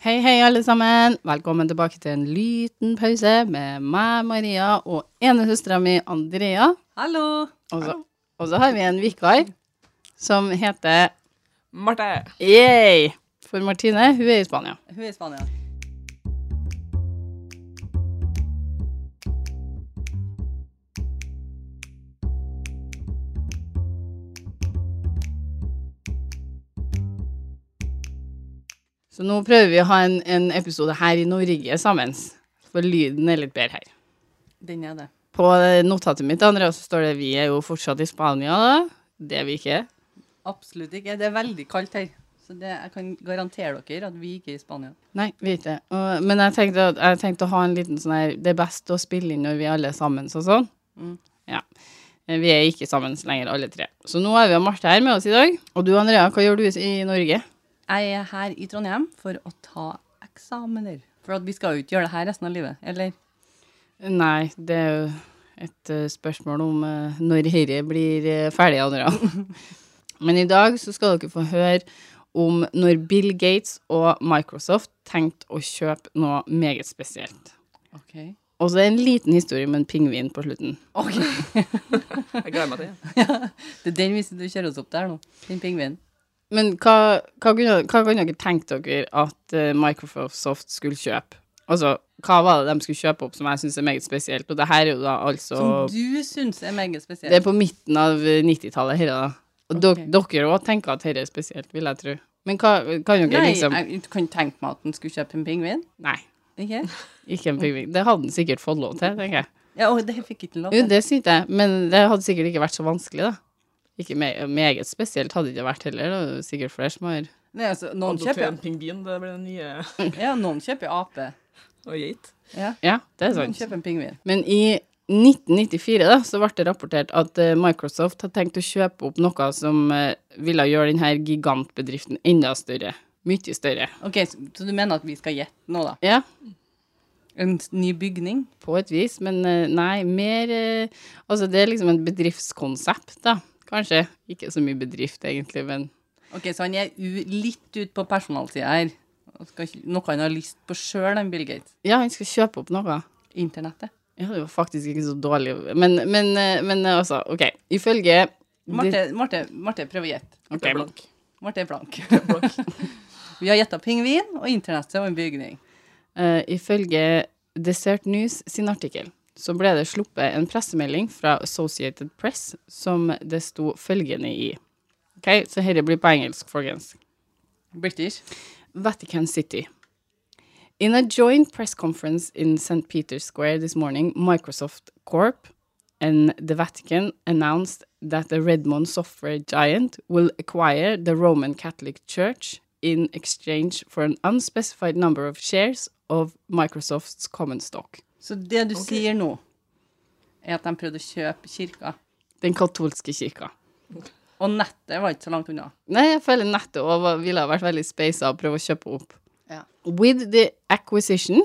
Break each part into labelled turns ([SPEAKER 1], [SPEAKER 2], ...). [SPEAKER 1] Hei, hei, alle sammen. Velkommen tilbake til en liten pause med meg, Maria, og enesøstera mi, Andrea.
[SPEAKER 2] Hallo!
[SPEAKER 1] Og så, og så har vi en vikar som heter
[SPEAKER 3] Marte!
[SPEAKER 1] Yay! For Martine, hun er i Spania.
[SPEAKER 2] Hun er i Spania.
[SPEAKER 1] Så nå prøver vi å ha en, en episode her i Norge sammen. For lyden er litt bedre her.
[SPEAKER 2] Den er det.
[SPEAKER 1] På eh, notatet mitt Andrea, så står det vi er jo fortsatt i Spania. da. Det er vi ikke.
[SPEAKER 2] Absolutt ikke. Det er veldig kaldt her. Så det, jeg kan garantere dere at vi ikke er i Spania.
[SPEAKER 1] Nei, vi er ikke det. Og- Men jeg tenkte, at- jeg tenkte å ha en liten sånn her Det er best å spille inn når vi er alle sammen, så sånn.
[SPEAKER 2] Mm.
[SPEAKER 1] Ja. Eh, Vi er ikke sammen lenger, alle tre. Så nå er vi og Marte her med oss i dag. Og du, Andrea, hva gjør du i Norge?
[SPEAKER 2] Jeg er her i Trondheim for å ta eksamener. For at vi skal jo ikke gjøre det her resten av livet, eller?
[SPEAKER 1] Nei, det er jo et eh, spørsmål om eh, når dette blir eh, ferdig, Andrea. Men i dag så skal dere få høre om når Bill Gates og Microsoft tenkte å kjøpe noe meget spesielt.
[SPEAKER 2] OK.
[SPEAKER 1] Og så er det en liten historie med en pingvin på slutten.
[SPEAKER 2] Ok.
[SPEAKER 3] Jeg gleder meg til det.
[SPEAKER 2] Det er den visen du kjører oss opp der nå. Den pingvinen.
[SPEAKER 1] Men hva, hva, kunne, hva kunne dere tenkt dere at eh, Microsoft skulle kjøpe? Altså, hva var det de skulle kjøpe opp som jeg syns er meget spesielt? Og det her er jo da altså
[SPEAKER 2] Som du syns er meget spesiell.
[SPEAKER 1] Det er på midten av eh, 90-tallet her, da. Og
[SPEAKER 2] Ok.
[SPEAKER 1] dere- dere òg tenker at dette er spesielt, vil jeg tro. Men hva kan dere
[SPEAKER 2] Nei,
[SPEAKER 1] liksom
[SPEAKER 2] jeg kan tenke meg at den skulle kjøpe en pingvin.
[SPEAKER 1] Nei,
[SPEAKER 2] Ikke?
[SPEAKER 1] ikke en pingvin. Det hadde han sikkert fått lov til, tenker jeg.
[SPEAKER 2] Ja, og det fikk ikke lov
[SPEAKER 1] Jo,
[SPEAKER 2] til.
[SPEAKER 1] det sier jeg, men det hadde sikkert ikke vært så vanskelig, da. Ikke me meget spesielt hadde det ikke vært heller, det er jo sikkert flere som har
[SPEAKER 2] Nei, altså, noen
[SPEAKER 3] Adoptere
[SPEAKER 2] kjøper,
[SPEAKER 3] en pingvin, det blir den nye
[SPEAKER 2] ja, noen kjøper ape.
[SPEAKER 3] og geit.
[SPEAKER 2] Ja,
[SPEAKER 1] Ja, det er
[SPEAKER 2] noen
[SPEAKER 1] sant.
[SPEAKER 2] kjøper en pingvin.
[SPEAKER 1] Men i 1994 da, så ble det rapportert at eh, Microsoft hadde tenkt å kjøpe opp noe som eh, ville gjøre denne gigantbedriften enda større. Mye større.
[SPEAKER 2] Ok, så, så du mener at vi skal gjette nå, da?
[SPEAKER 1] Ja,
[SPEAKER 2] En s- ny bygning?
[SPEAKER 1] på et vis, men eh, nei, mer eh, Altså, det er liksom et bedriftskonsept, da. Kanskje. Ikke så mye bedrift, egentlig, men
[SPEAKER 2] Ok, så han er u litt ut på personalsida her. Og Skal, ikke- noe han har lyst på sjøl, den Bill Gates.
[SPEAKER 1] Ja, han skal kjøpe opp noe.
[SPEAKER 2] Internettet.
[SPEAKER 1] Ja, det var faktisk ikke så dårlig, men, men, eh, men eh, altså, OK. Ifølge
[SPEAKER 2] Marte, Marte, Marte prøv å gjette.
[SPEAKER 1] Ok,
[SPEAKER 3] Det er blank.
[SPEAKER 2] Marte er blank. Vi har gjetta pingvin og internettet og en bygning.
[SPEAKER 1] Eh, ifølge Desert News sin artikkel så ble det sluppet en pressemelding fra Associated Press som det sto følgende i. Ok, Så dette blir på engelsk, folkens.
[SPEAKER 2] British.
[SPEAKER 1] Vatican City. In a joint press conference in St. Peter's Square this morning, Microsoft Corp and the Vatican announced that the Redmond software giant will acquire the Roman Catholic Church in exchange for an unspecified number of shares of Microsoft's common stock.
[SPEAKER 2] Så det du sier nå, er at de prøvde å kjøpe kirka.
[SPEAKER 1] Den katolske kirka.
[SPEAKER 2] Og nettet var ikke så langt unna.
[SPEAKER 1] Nei, jeg føler nettet over ville ha vært veldig speisa å prøve å kjøpe opp.
[SPEAKER 2] Ja.
[SPEAKER 1] With the acquisition,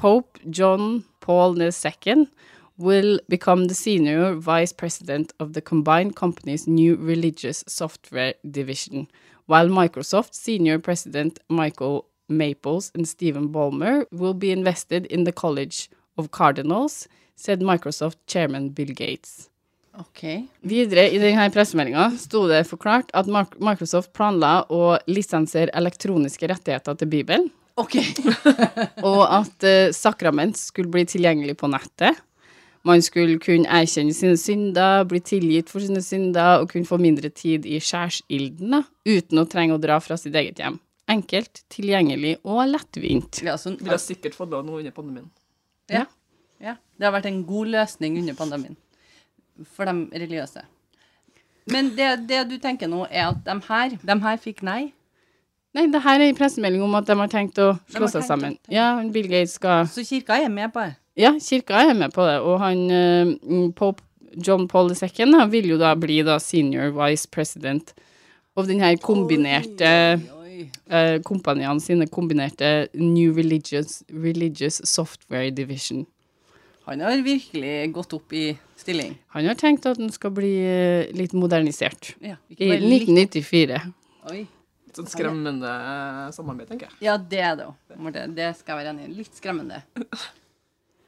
[SPEAKER 1] Pope John Paul II will become the senior vice president of the combined company's new religious software division, while Microsoft senior president Michael Maples and Stephen Ballmer will be invested in the College of Cardinals, said Microsoft chairman Bill Gates.
[SPEAKER 2] Ok.
[SPEAKER 1] Videre i denne pressemeldinga sto det forklart at Mark- Microsoft planla å lisensiere elektroniske rettigheter til Bibelen,
[SPEAKER 2] Ok.
[SPEAKER 1] og at eh, sakrament skulle bli tilgjengelig på nettet. Man skulle kunne erkjenne sine synder, bli tilgitt for sine synder og kunne få mindre tid i skjærsilden da, uten å trenge å dra fra sitt eget hjem. Enkelt, tilgjengelig og lettvint.
[SPEAKER 2] Ja, så,
[SPEAKER 3] Ville jeg sikkert fått lov nå under pandemien.
[SPEAKER 2] ja. ja. Det har vært en god løsning under pandemien for de religiøse. Men det, det du tenker nå, er at de her, de her fikk nei.
[SPEAKER 1] Nei, det her er en pressemelding om at de har tenkt å slå
[SPEAKER 2] har
[SPEAKER 1] seg
[SPEAKER 2] tenkt å-
[SPEAKER 1] sammen. Ja, Bill Gates skal
[SPEAKER 2] Så kirka er med på det.
[SPEAKER 1] Ja, kirka er med på det, og han eh, Pope John Paul II da, vil jo da bli da senior vice president av den her kombinerte
[SPEAKER 2] Oi.
[SPEAKER 1] eh, kompaniene sine kombinerte New Religious, Religious Software Division.
[SPEAKER 2] Han har virkelig gått opp i stilling.
[SPEAKER 1] Han har tenkt at den skal bli eh, litt modernisert.
[SPEAKER 2] Ja, ikke
[SPEAKER 1] I
[SPEAKER 2] bare litt.
[SPEAKER 1] 1994.
[SPEAKER 2] Oi.
[SPEAKER 3] Litt sånn skremmende eh, samarbeid, tenker jeg.
[SPEAKER 2] Ja, det er det òg.
[SPEAKER 3] det.
[SPEAKER 2] Marte, det skal jeg være enig i. Litt skremmende.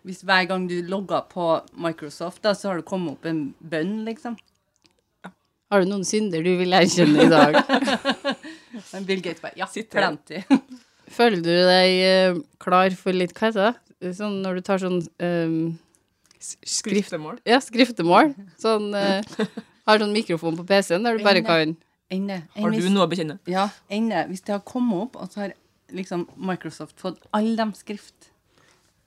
[SPEAKER 2] Hvis hver gang du logger på Microsoft, da, så har det kommet opp en bønn, liksom.
[SPEAKER 1] Har du noen synder du vil erkjenne i dag?
[SPEAKER 2] Men Bill Gates bare Ja,
[SPEAKER 3] Sitter.
[SPEAKER 2] plenty.
[SPEAKER 1] Føler du deg eh, klar for litt Hva heter det? Sånn når du tar sånn eh, s- skrift,
[SPEAKER 3] Skriftemål.
[SPEAKER 1] ja, skriftemål. Sånn eh, Har sånn mikrofon på PC-en der du bare kan
[SPEAKER 2] Ende.
[SPEAKER 3] Har du noe å bekjenne?
[SPEAKER 2] Ja, ende. Hvis det har kommet opp, og så har liksom Microsoft fått alle dem skrift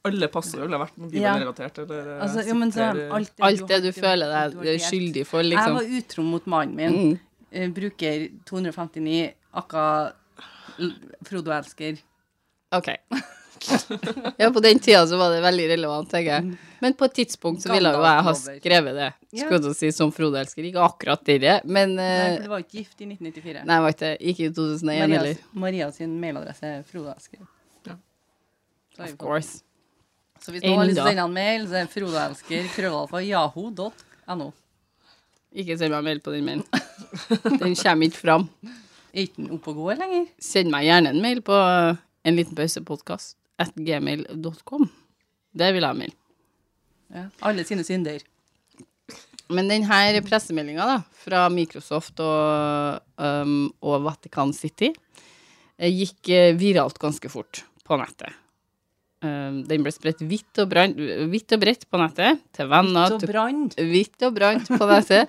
[SPEAKER 3] Alle passord ville vært mobilrelatert eller eh,
[SPEAKER 2] altså, jo, men så har de
[SPEAKER 3] sitter-
[SPEAKER 2] alt det
[SPEAKER 1] Alt det
[SPEAKER 2] har-
[SPEAKER 1] du føler
[SPEAKER 2] har
[SPEAKER 1] deg
[SPEAKER 2] delt.
[SPEAKER 1] skyldig for,
[SPEAKER 2] Jeg
[SPEAKER 1] liksom.
[SPEAKER 2] var utro mot mannen min.
[SPEAKER 1] Mm.
[SPEAKER 2] Eh, bruker 259 akka l- Frodo elsker.
[SPEAKER 1] OK. Ja, på den tida så var det veldig relevant, tenker jeg. Men på et tidspunkt så ville jo jeg ha
[SPEAKER 2] Gandalf-lover.
[SPEAKER 1] skrevet det,
[SPEAKER 2] Mm. Ja.
[SPEAKER 1] skulle jeg si, som Frode elsker. Ikke akkurat det, men
[SPEAKER 2] Nei,
[SPEAKER 1] eh,
[SPEAKER 2] for du var jo ikke gift i 1994.
[SPEAKER 1] Nei, var ikke det. Ikke i 2001
[SPEAKER 2] Maria,
[SPEAKER 1] heller.
[SPEAKER 2] Maria sin mailadresse er Frode elsker.
[SPEAKER 3] Ja.
[SPEAKER 2] Så, har vi
[SPEAKER 1] Of
[SPEAKER 2] fått-
[SPEAKER 1] course.
[SPEAKER 2] så hvis noen har lyst til å
[SPEAKER 1] Enda.
[SPEAKER 2] sende en mail, så er Frode elsker krøllalfa yahoo.no.
[SPEAKER 1] Ikke send meg mail på den mailen. Den kommer ikke fram.
[SPEAKER 2] Er ikke den oppe og går lenger?
[SPEAKER 1] Send meg gjerne en mail på en liten pausepodkast at gmail.com. Det vil jeg ha mail.
[SPEAKER 2] Ja. Alle sine synder.
[SPEAKER 1] Men denne pressemeldinga da, fra Microsoft og, um, og Vatican City eh, gikk eh, viralt ganske fort på nettet. Um, den ble spredt vidt og, brant- vidt og bredt på nettet, til venner,
[SPEAKER 2] Så
[SPEAKER 1] til
[SPEAKER 2] brann.
[SPEAKER 1] hvitt og brant på nettet.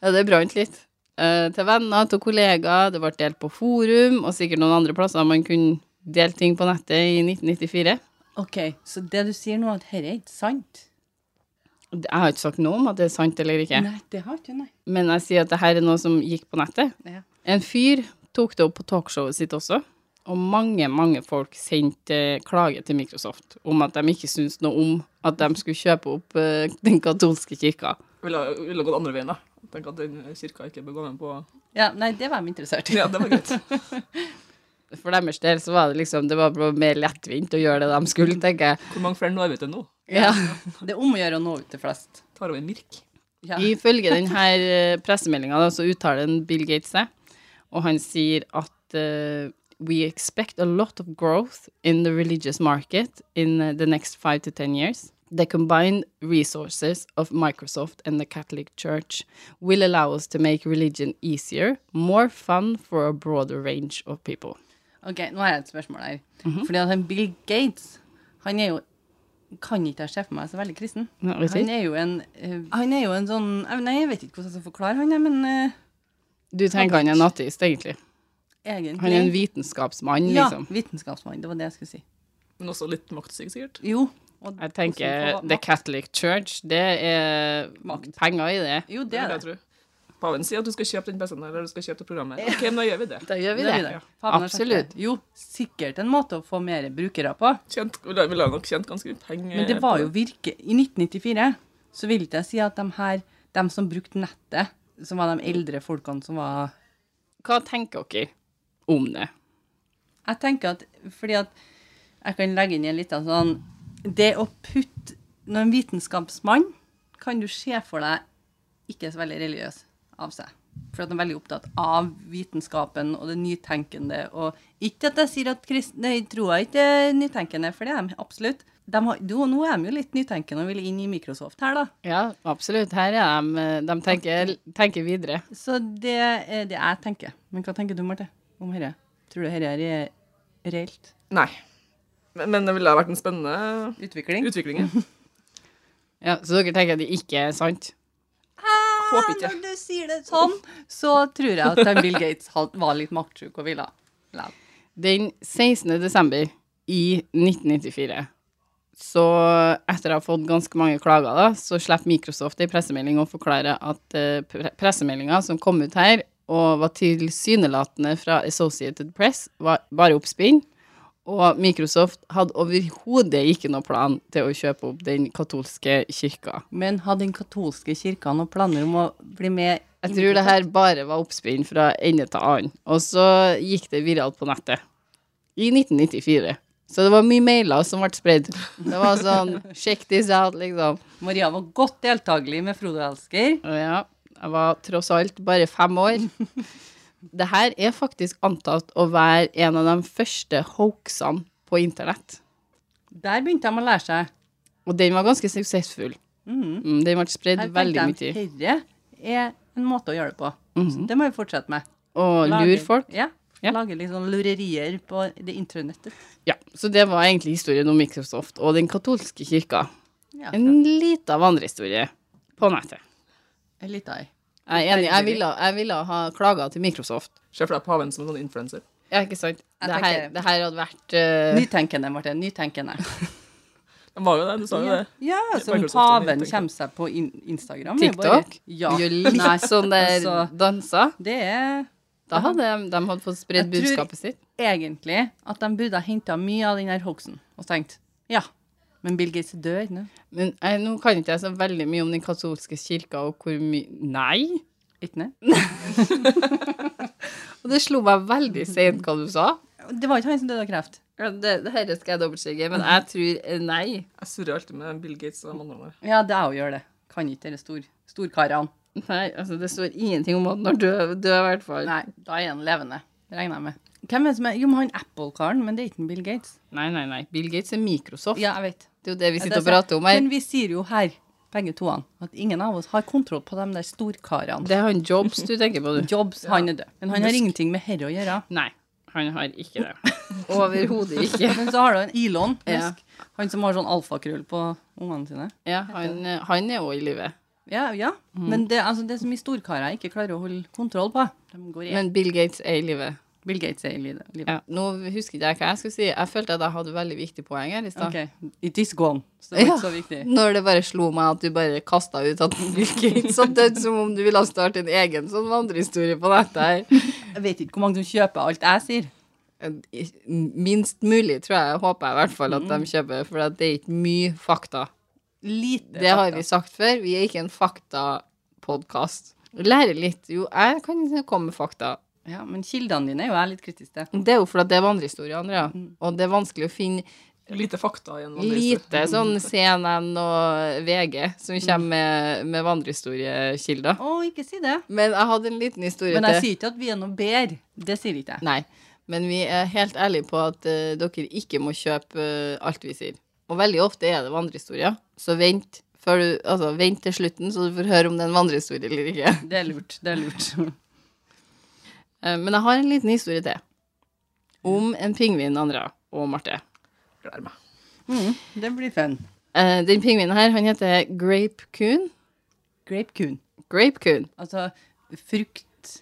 [SPEAKER 1] Ja, det brant litt. Eh, til venner, til kollegaer, det ble delt på forum, og sikkert noen andre plasser man kunne dele ting på nettet i 1994.
[SPEAKER 2] OK, så det du sier nå, at dette er ikke sant?
[SPEAKER 1] Jeg har ikke sagt noe om at det er sant eller ikke,
[SPEAKER 2] Nei, det har ikke du, nei.
[SPEAKER 1] men jeg sier at det her er noe som gikk på nettet.
[SPEAKER 2] Ja.
[SPEAKER 1] En fyr tok det opp på talkshowet sitt også, og mange, mange folk sendte eh, klage til Microsoft om at de ikke syntes noe om at de skulle kjøpe opp eh, den katolske kirka.
[SPEAKER 3] Ville ville gått andre veien, da. Tenk at den kirka ikke bør gå med på
[SPEAKER 2] Ja, nei, det var de interessert i.
[SPEAKER 3] Ja, det var greit.
[SPEAKER 1] For deres del så var det liksom, det var bare mer lettvint å gjøre det de skulle, tenker jeg.
[SPEAKER 3] Hvor mange flere når vi til nå?
[SPEAKER 1] Ja.
[SPEAKER 2] Det er om å gjøre å nå ut til flest.
[SPEAKER 3] Tar over Mirk.
[SPEAKER 2] Ja.
[SPEAKER 1] Ifølge denne pressemeldinga så uttaler en Bill Gates seg, og han sier at eh, We expect a lot of growth in the religious market in eh, the next five to ten years. The combined resources of Microsoft and the Catholic Church will allow us to make religion easier, more fun for a broader range of people.
[SPEAKER 2] Ok, nå har jeg et spørsmål her. Fordi at han Bill Gates, han er jo kan ikke jeg se for meg så veldig kristen.
[SPEAKER 1] Nå, vet jeg
[SPEAKER 2] Han er jo en, eh, han er jo en sånn eh, Nei, jeg vet ikke hvordan jeg skal forklare han, jeg, men eh,
[SPEAKER 1] ikke. Du tenker han er en ateist, egentlig.
[SPEAKER 2] egentlig
[SPEAKER 1] Han er en vitenskapsmann, liksom.
[SPEAKER 2] Ja, vitenskapsmann. Det var det jeg skulle si.
[SPEAKER 3] Men også litt maktsyk, sikkert.
[SPEAKER 2] Jo. og-
[SPEAKER 1] Jeg
[SPEAKER 2] hvordan
[SPEAKER 1] tenker
[SPEAKER 2] få
[SPEAKER 1] The
[SPEAKER 2] makt?
[SPEAKER 1] Catholic Church, det er
[SPEAKER 2] Makt.
[SPEAKER 1] penger i det.
[SPEAKER 2] Jo, det er det.
[SPEAKER 3] jeg tror. Paven sier at du skal kjøpe den PC-en her, eller du skal kjøpe det programmet. Ok, men da gjør vi det.
[SPEAKER 1] Da gjør vi
[SPEAKER 2] Det
[SPEAKER 1] det.
[SPEAKER 2] er det. Faen, jeg har sagt
[SPEAKER 1] Absolutt.
[SPEAKER 2] det. Jo, sikkert en måte å få mer brukere på.
[SPEAKER 3] Tjent, vi la vi la nok tjent ganske mye penger.
[SPEAKER 2] Men det var jo virke I 1994 så vil ikke jeg si at de her, de som brukte nettet, som var de eldre folkene som var
[SPEAKER 1] Hva tenker dere om det?
[SPEAKER 2] Jeg tenker at Fordi at jeg kan legge inn en liten sånn Det å putte Når en vitenskapsmann kan du se for deg ikke så veldig religiøs av seg. For at han er veldig opptatt av vitenskapen og det nytenkende. Og ikke at jeg sier at kristne jeg tror jeg ikke er nytenkende, for det er de absolutt. De har, jo, nå er de jo litt nytenkende og vil inn i Microsoft her, da.
[SPEAKER 1] Ja, absolutt. Her er de. De tenker, tenker videre.
[SPEAKER 2] Så det er det jeg tenker. Men hva tenker du, Marte, om dette? Tror du dette er reelt?
[SPEAKER 3] Nei. Men, men det ville ha vært en spennende
[SPEAKER 2] Utvikling?
[SPEAKER 3] utvikling. ja.
[SPEAKER 1] Ja, så dere tenker at det ikke er sant?
[SPEAKER 3] Håper
[SPEAKER 2] Ja,
[SPEAKER 3] ikke.
[SPEAKER 2] Når du sier det sånn, så tror jeg at den Bill Gates had- var litt maktsjuk og ville la-
[SPEAKER 1] Den 16. desember i 1994, så etter å ha fått ganske mange klager, da, så slipper Microsoft en pressemelding og forklarer at eh, pre pressemeldinga som kom ut her, og var tilsynelatende fra Associated Press, var bare oppspinn. Og Microsoft hadde overhodet ikke noe plan til å kjøpe opp den katolske kirka.
[SPEAKER 2] Men har den katolske kirka noen planer om å bli med
[SPEAKER 1] Jeg tror det her bare var oppspinn fra ende til annen. Og så gikk det viralt på nettet. I 1994. Så det var mye mailer som ble spredd. Det var sånn Check this out, liksom.
[SPEAKER 2] Maria var godt deltakelig med Frode Elsker.
[SPEAKER 1] Og ja, jeg var tross alt bare fem år. Det her er faktisk antatt å være en av de første hoaxene på internett.
[SPEAKER 2] Der begynte de å lære seg.
[SPEAKER 1] Og den var ganske suksessfull.
[SPEAKER 2] Mhm.
[SPEAKER 1] Mm, den ble spredd
[SPEAKER 2] Her
[SPEAKER 1] veldig
[SPEAKER 2] tenkte
[SPEAKER 1] mye. Mhm.
[SPEAKER 2] de, Dette er en måte å gjøre det på. Så det må vi fortsette med.
[SPEAKER 1] Og lure
[SPEAKER 2] Lage-
[SPEAKER 1] folk.
[SPEAKER 2] Ja.
[SPEAKER 1] Ja.
[SPEAKER 2] Lage litt sånn lurerier på det intranettet.
[SPEAKER 1] Ja, Så det var egentlig historien om Microsoft og den katolske kirka.
[SPEAKER 2] Ja,
[SPEAKER 1] En lita vandrehistorie på nettet.
[SPEAKER 2] en liten ei.
[SPEAKER 1] Jeg er enig. Jeg ville, jeg ville ha klaga til Microsoft.
[SPEAKER 3] Se for deg paven som en sånn influenser.
[SPEAKER 1] Ja, ikke sant?
[SPEAKER 2] Jeg
[SPEAKER 1] Det her,
[SPEAKER 2] tenker-
[SPEAKER 1] det her hadde vært eh,
[SPEAKER 2] Nytenkende, Martin. Nytenkende.
[SPEAKER 3] Den var jo det, du sa jo det.
[SPEAKER 2] Ja, som
[SPEAKER 3] Microsoft er
[SPEAKER 2] paven
[SPEAKER 3] nytenkende.
[SPEAKER 2] kommer seg på in Instagram. det er bare-
[SPEAKER 1] TikTok.
[SPEAKER 2] Ja.
[SPEAKER 1] Gjør litt sånn der
[SPEAKER 2] altså.
[SPEAKER 1] danser.
[SPEAKER 2] Det er
[SPEAKER 1] Da hadde de, de hadde fått spredd
[SPEAKER 2] Jeg tror-
[SPEAKER 1] budskapet sitt.
[SPEAKER 2] egentlig at de burde ha henta mye av den her hoaxen og tenkt ja, men Bill Gates er død nå.
[SPEAKER 1] Men jeg, nå kan ikke jeg så veldig mye om den katolske kirka og hvor mye Nei!
[SPEAKER 2] Ikke sant?
[SPEAKER 1] Og det slo meg veldig sent hva du sa.
[SPEAKER 2] Det var ikke han som døde av kreft.
[SPEAKER 1] Ja, Det, det her skal jeg dobbeltsjekke, men jeg tror eh, nei.
[SPEAKER 3] Jeg surrer alltid med Bill Gates og de andre der.
[SPEAKER 2] Ja, det er jo å gjøre det. Kan ikke dere stor, storkarene.
[SPEAKER 1] Nei, altså Det står ingenting om at når død, død i hvert fall.
[SPEAKER 2] Nei, da er han levende. Det regner jeg med. Hvem er det som er Jo, men han Apple-karen, men det er ikke en Bill Gates.
[SPEAKER 1] nei, nei, nei. Bill Gates er Microsoft.
[SPEAKER 2] Ja, jeg vet.
[SPEAKER 1] Det er jo det vi
[SPEAKER 2] Ja,
[SPEAKER 1] sitter og
[SPEAKER 2] det er sant.
[SPEAKER 1] prater om her.
[SPEAKER 2] Men vi sier jo her, begge toene, at ingen av oss har kontroll på de der storkarene.
[SPEAKER 1] Det er han Jobs du tenker på, du.
[SPEAKER 2] Jobs, han er død. Men han har ingenting med herre å gjøre.
[SPEAKER 1] Nei, han har ikke det. Overhodet ikke.
[SPEAKER 2] Men så har du en Elon Musk,
[SPEAKER 1] Ja.
[SPEAKER 2] han som har sånn alfakrøll på ungene sine.
[SPEAKER 1] Ja, han, eh, han er òg i live.
[SPEAKER 2] Ja, ja.
[SPEAKER 1] Mhm.
[SPEAKER 2] Men det, altså, det er så mye storkarer jeg ikke klarer å holde kontroll på. De går i.
[SPEAKER 1] Men Bill Gates er i live.
[SPEAKER 2] Bill Gates er i livet. livet.
[SPEAKER 1] Ja. Nå husker ikke jeg hva jeg skulle si. Jeg følte at jeg hadde veldig viktig poeng her i stad.
[SPEAKER 2] Ok, it is gone. Så det var ikke så viktig.
[SPEAKER 1] Når det bare slo meg at du bare kasta ut at Bill Gates hadde dødd, som om du ville ha startet en egen sånn vandrehistorie på nettet her.
[SPEAKER 2] Jeg vet ikke hvor mange som kjøper alt jeg sier.
[SPEAKER 1] Minst mulig, tror jeg. Håper jeg i hvert fall at de kjøper, for at det er ikke mye fakta.
[SPEAKER 2] Lite.
[SPEAKER 1] Det har
[SPEAKER 2] fakta.
[SPEAKER 1] vi sagt før. Vi er ikke en faktapodkast. Lære litt. Jo, jeg kan komme med fakta.
[SPEAKER 2] Ja, men kildene dine er jo jeg litt kritisk til.
[SPEAKER 1] Det er jo fordi det er vandrehistorie, Andrea.
[SPEAKER 2] Mm.
[SPEAKER 1] Og det er vanskelig å finne
[SPEAKER 3] Lite fakta i en vandrehistorie.
[SPEAKER 1] lite sånn CNN og VG som
[SPEAKER 2] Mm.
[SPEAKER 1] kommer med, med vandrehistoriekilder.
[SPEAKER 2] Å, ikke si det.
[SPEAKER 1] Men jeg hadde en liten historie
[SPEAKER 2] Men jeg
[SPEAKER 1] til.
[SPEAKER 2] sier ikke at vi er noe bedre. Det sier ikke jeg.
[SPEAKER 1] Nei. Men vi er helt ærlige på at eh, dere ikke må kjøpe eh, alt vi sier. Og veldig ofte er det vandrehistorier. Så vent, før du, altså, vent til slutten, så du får høre om det er en vandrehistorie eller ikke.
[SPEAKER 2] Det er lurt. Det er lurt.
[SPEAKER 1] Eh, Men jeg har en liten historie til. Om en pingvin, Andrea og Marte.
[SPEAKER 3] Gleder meg.
[SPEAKER 2] Mm, det blir fun.
[SPEAKER 1] Eh, Den pingvinen her, han heter Grape Coon.
[SPEAKER 2] Grape coon.
[SPEAKER 1] Grape Coon.
[SPEAKER 2] Altså frukt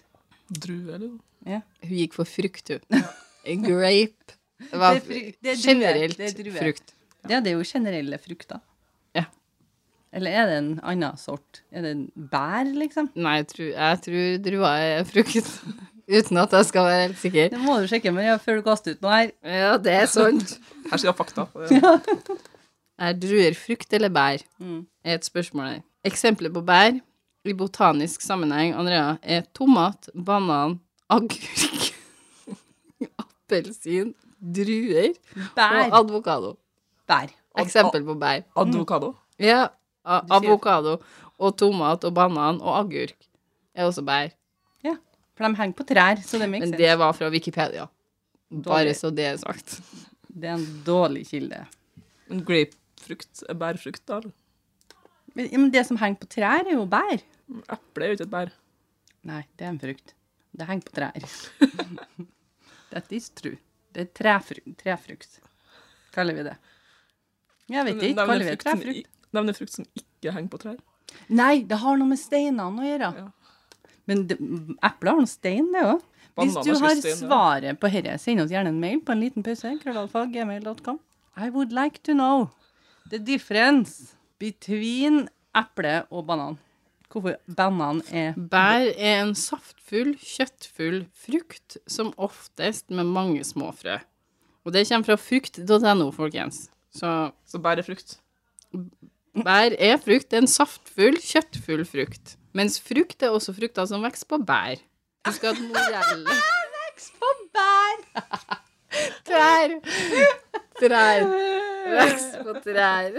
[SPEAKER 3] Drue, eller? noe?
[SPEAKER 2] ja.
[SPEAKER 1] Hun gikk for frukt, hun. Grape var
[SPEAKER 2] Det er fru- det er drue,
[SPEAKER 1] generelt
[SPEAKER 2] det er drue.
[SPEAKER 1] frukt.
[SPEAKER 2] ja, det er jo generelle frukter.
[SPEAKER 1] Ja.
[SPEAKER 2] Eller er det en annen sort? Er det en bær, liksom?
[SPEAKER 1] Nei, jeg tror, jeg tror drua er frukt. Uten at jeg skal være helt sikker.
[SPEAKER 2] Det må du sjekke med ja, før du kaster ut noe her.
[SPEAKER 1] Ja, det er sant.
[SPEAKER 3] Her skal jeg ha fakta. på det.
[SPEAKER 1] Er druer frukt eller bær?
[SPEAKER 2] Mm.
[SPEAKER 1] Er et spørsmål her. Eksempler på bær i botanisk sammenheng, Andrea, er tomat, banan, agurk, appelsin, druer og
[SPEAKER 2] Bær.
[SPEAKER 1] advokado.
[SPEAKER 2] Bær.
[SPEAKER 1] Eksempel på bær.
[SPEAKER 3] Advokado.
[SPEAKER 1] Ja, a-
[SPEAKER 2] Du sier-
[SPEAKER 1] avokado og tomat og banan og agurk er også bær.
[SPEAKER 2] Ja. For de henger på trær, så det makes
[SPEAKER 1] Men
[SPEAKER 2] sense.
[SPEAKER 1] det var fra Wikipedia. Bare
[SPEAKER 2] Dårlig.
[SPEAKER 1] så det er sagt.
[SPEAKER 2] Det er en dårlig kilde.
[SPEAKER 3] Men grapefrukt er bærfrukt, da? eller?
[SPEAKER 2] Men, ja, men det som henger på trær, er jo bær.
[SPEAKER 3] Eple er jo ikke et bær.
[SPEAKER 2] Nei, det er en frukt. Det henger på trær. That is true. Det er trefru trefrukt, kaller vi det. Jeg vet ikke, kaller vi det
[SPEAKER 3] frukt som
[SPEAKER 2] trefrukt?
[SPEAKER 3] i- Nevn en frukt som ikke henger på trær.
[SPEAKER 2] Nei, det har noe med steinene å gjøre.
[SPEAKER 3] Ja.
[SPEAKER 2] Men det, eplet har noe stein, det òg. Hvis
[SPEAKER 3] Bananer
[SPEAKER 2] du
[SPEAKER 3] skal
[SPEAKER 2] har
[SPEAKER 3] stein, ja.
[SPEAKER 2] svaret på dette, send oss gjerne en mail på en liten pause. krøllalfa, gmail.com. I would like to know the difference between eple og banan. Hvorfor banan er
[SPEAKER 1] Bær er en saftfull, kjøttfull frukt, som oftest med mange små frø. Og det kommer fra frukt.no, folkens. Så
[SPEAKER 3] Så bær er frukt.
[SPEAKER 1] bær er frukt, det er en saftfull, kjøttfull frukt. Mens frukt er også frukter som vokser på bær. Husk at morelle
[SPEAKER 2] på bær!
[SPEAKER 1] Trær! Trær. Vokser på trær.